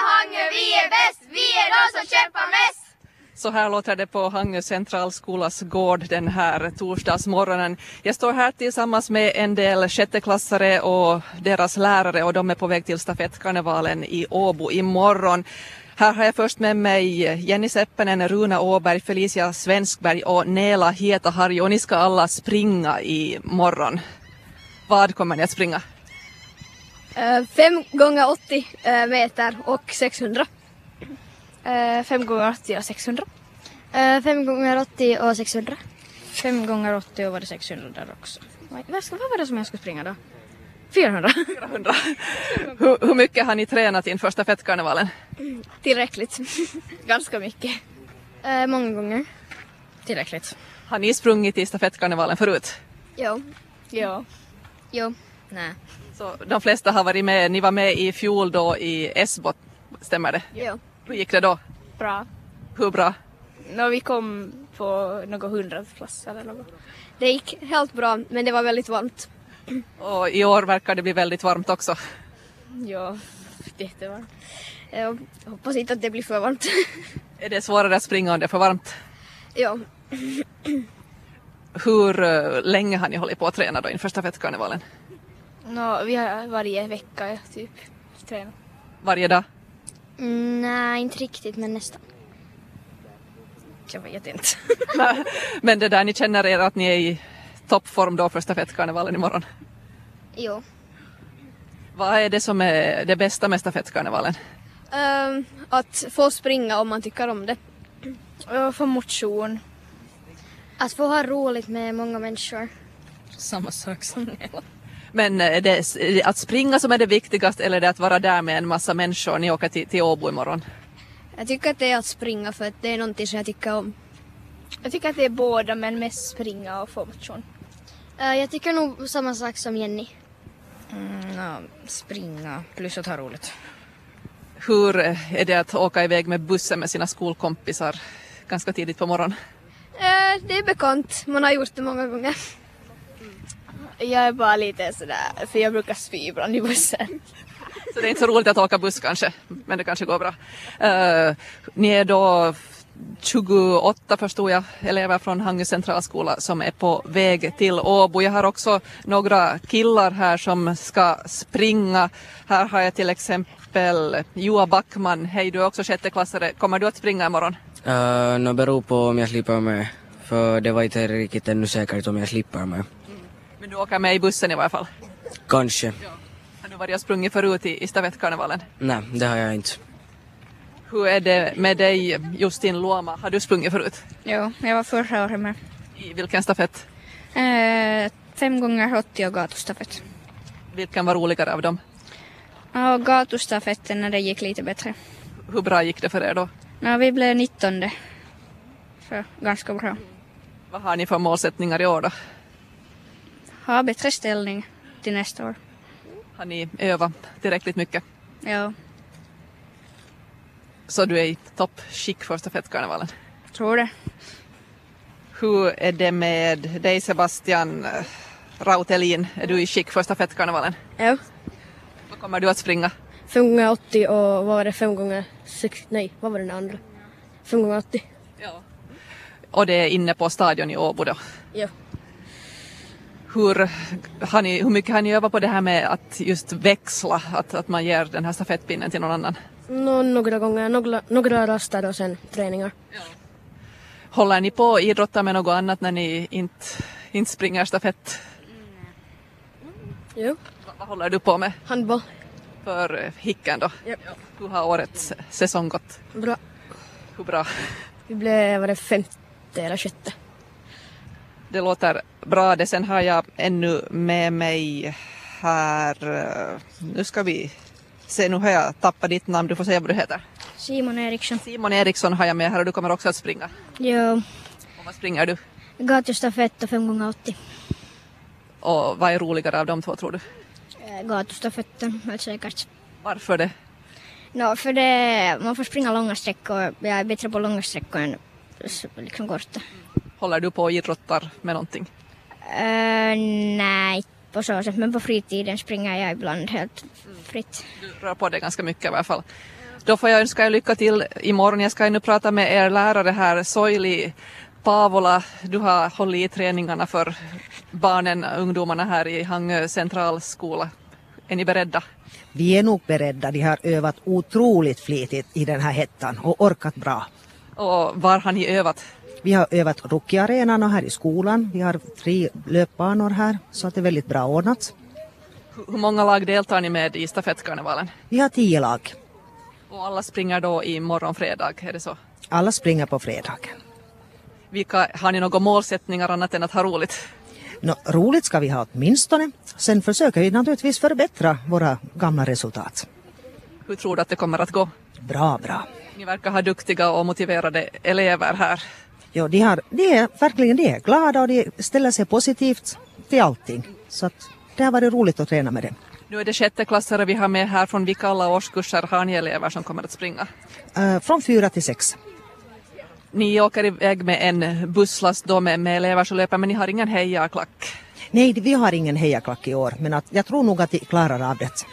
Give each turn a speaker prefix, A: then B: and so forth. A: Hangö, vi är bäst! Vi är de som kämpar mest!
B: Så här låter det på Hangö centralskolas gård den här torsdagsmorgonen. Jag står här tillsammans med en del sjätteklassare och deras lärare och de är på väg till stafettkarnevalen i Åbo imorgon. Här har jag först med mig Jenny Seppänen, Runa Åberg, Felicia Svenskberg och Nela Hietaharju och ni ska alla springa i morgon. Vad kommer ni att springa?
A: 5 Eh, gånger 80 eh, meter och 600.
C: 5 Eh, gånger 80 och 600.
A: 5 Eh, gånger 80 och 600.
C: 5 gånger 80 och var det 600 där också. Vad, vad ska- vad var det som jag skulle springa då? 400.
B: 400. Hur, hur mycket har ni tränat inför stafettkarnevalen?
A: Tillräckligt.
C: Ganska mycket.
A: Eh, många gånger.
C: Tillräckligt.
B: Har ni sprungit i stafettkarnevalen förut?
A: Jo.
C: Ja.
A: Jo.
C: Nej.
B: Så de flesta har varit med. Ni var med i fjol då i Esbot, stämmer det?
A: Jo.
B: Hur gick det då?
C: Bra.
B: Hur bra?
C: No, vi kom på någon hundraplats eller något.
A: Det gick helt bra, men det var väldigt varmt.
B: Och i år verkar det bli väldigt varmt också.
C: Ja, jättevarmt.
A: Jag hoppas inte att det blir för varmt.
B: Är det svårare att springa om det är för varmt?
A: jo.
B: Hur eh, länge har ni hållit på att träna då inför stafettkarnevalen?
C: No, vi har varje vecka typ tränat.
B: Varje dag?
A: nej, inte riktigt, men nästan.
C: Jag vet inte.
B: Men det där, ni känner er att ni är i toppform då för stafettkarnevalen imorgon.
A: Jo.
B: Vad är det som är det bästa med stafettkarnevalen?
A: Ehm, att få springa om man tycker om det.
C: Och få motion.
A: Att få ha roligt med många människor.
C: Samma sak som Nela.
B: Men eh, är det s- är det att springa som är det viktigaste eller är det att vara där med en massa människor? Ni åker till, till Åbo imorgon.
A: Jag tycker att det är att springa för att det är någonting som jag tycker om.
C: Jag tycker att det är båda men mest springa och få motion.
A: Eh, jag tycker nog samma sak som Jenny.
C: Mm, springa plus att ha roligt.
B: Hur eh, är det att åka iväg med bussen med sina skolkompisar ganska tidigt på morgonen?
A: Eh, det är bekant, man har gjort det många gånger.
C: Jag är bara lite sådär, för jag brukar spy ibland i bussen.
B: Så det är inte så roligt att åka buss kanske, men det kanske går bra. Eh, ni är då 28 förstod jag, elever från Hangö centralskola som är på väg till Åbo. Jag har också några killar här som ska springa. Här har jag till exempel Joa Backman. Hej, du är också sjätteklassare. Kommer du att springa imorgon?
D: Uh, no, beror på om jag slipper med. För det var inte riktigt ännu säkert om jag slipper med.
B: Men du åker med i bussen i varje fall.
D: Kanske.
B: Har du varit och sprungit förut i, i stafettkarnevalen?
D: Nej, det har jag inte.
B: Hur är det med dig, Justin Luoma? Har du sprungit förut?
C: Jo, jag var förra året med.
B: I vilken stafett?
C: Eh, fem gånger 80 och gatustafett.
B: Vilken var roligare av dem?
C: Och gatustafetten när det gick lite bättre.
B: Hur bra gick det för er då?
C: Ja, vi blev 19. Så ganska bra.
B: Vad har ni för målsättningar i år då?
C: Ha bättre ställning till nästa år.
B: Har ni övat tillräckligt mycket?
C: Ja,
B: Så du är i toppskick för stafettkarnevalen.
C: tror det.
B: Hur är det med dig Sebastian eh, Rautelin? Är du i skick för stafettkarnevalen?
E: Ja.
B: Vad kommer du att springa?
E: 5 gånger 80 och vad var det 5 gånger 60? Nej, vad var den andra? 5 gånger 80.
B: Ja. Och det är inne på stadion i Åbo då?
E: Ja.
B: Hur, har ni, hur mycket har ni övat på det här med att just växla, att, att man ger den här stafettpinnen till någon annan?
E: Nå, några gånger, några, några raster och sen träningar.
B: Håller ni på att idrotta med något annat när ni inte, inte springer stafett?
E: Jo.
B: Vad- Vad håller du på med
E: Handboll.
B: för eh, Hicken då?
E: Japp.
B: Hur har årets säsong gått?
E: Bra.
B: Hur bra?
E: Vi blev, var det femte eller sjätte?
B: Det låter bra det. Sen har jag ännu med mig här, eh, nu ska vi se, nu har jag tappat ditt namn, du får säga vad du heter.
C: Simon Eriksson.
B: Simon Eriksson har jag med här och du kommer också att springa.
E: Jo.
B: Och vad springer du?
E: Gatustafett och 5 gånger 80.
B: Och vad är roligare av de två tror du?
E: Eh, Gatustafetten, helt säkert.
B: Varför det?
E: No, för det, man får springa långa sträckor. Jag är bättre på långa sträckor än liksom korta.
B: Håller du på och idrottar med någonting?
E: Uh, nej, på så sätt. Men på fritiden springer jag ibland helt fritt.
B: Du rör på dig ganska mycket i alla fall. Då får jag önska er lycka till imorgon. Jag ska ju nu prata med er lärare här, Soili Paavola. Du har hållit i träningarna för barnen, ungdomarna här i Hangö centralskola. Är ni beredda?
F: Vi är nog beredda. De har övat otroligt flitigt i den här hettan och orkat bra.
B: Och var har ni övat?
F: Vi har övat hockeyarenan och här i skolan. Vi har tre löpbanor här så att det är väldigt bra ordnat.
B: Hur- Hur många lag deltar ni med i stafettkarnevalen?
F: Vi har tio lag.
B: Och alla springer då imorgon fredag, är det så?
F: Alla springer på fredagen.
B: Vilka, har ni några målsättningar annat än att ha roligt?
F: Nå, roligt ska vi ha åtminstone. Sen försöker vi naturligtvis förbättra våra gamla resultat.
B: Hur tror du att det kommer att gå?
F: Bra, bra.
B: Ni verkar ha duktiga och motiverade elever här.
F: Ja, de, har, de är verkligen de är glada och de ställer sig positivt till allting. Så att det har varit roligt att träna med dem.
B: Nu är det sjätteklassare vi har med här. Från vilka alla årskurser har ni elever som kommer att springa?
F: Eh, från fyra till sex.
B: Ni åker iväg med en busslast då med, med elever som löper, men ni har ingen hejarklack.
F: Nej, vi har ingen hejaklack i år, men att jag tror nog att de klarar av det.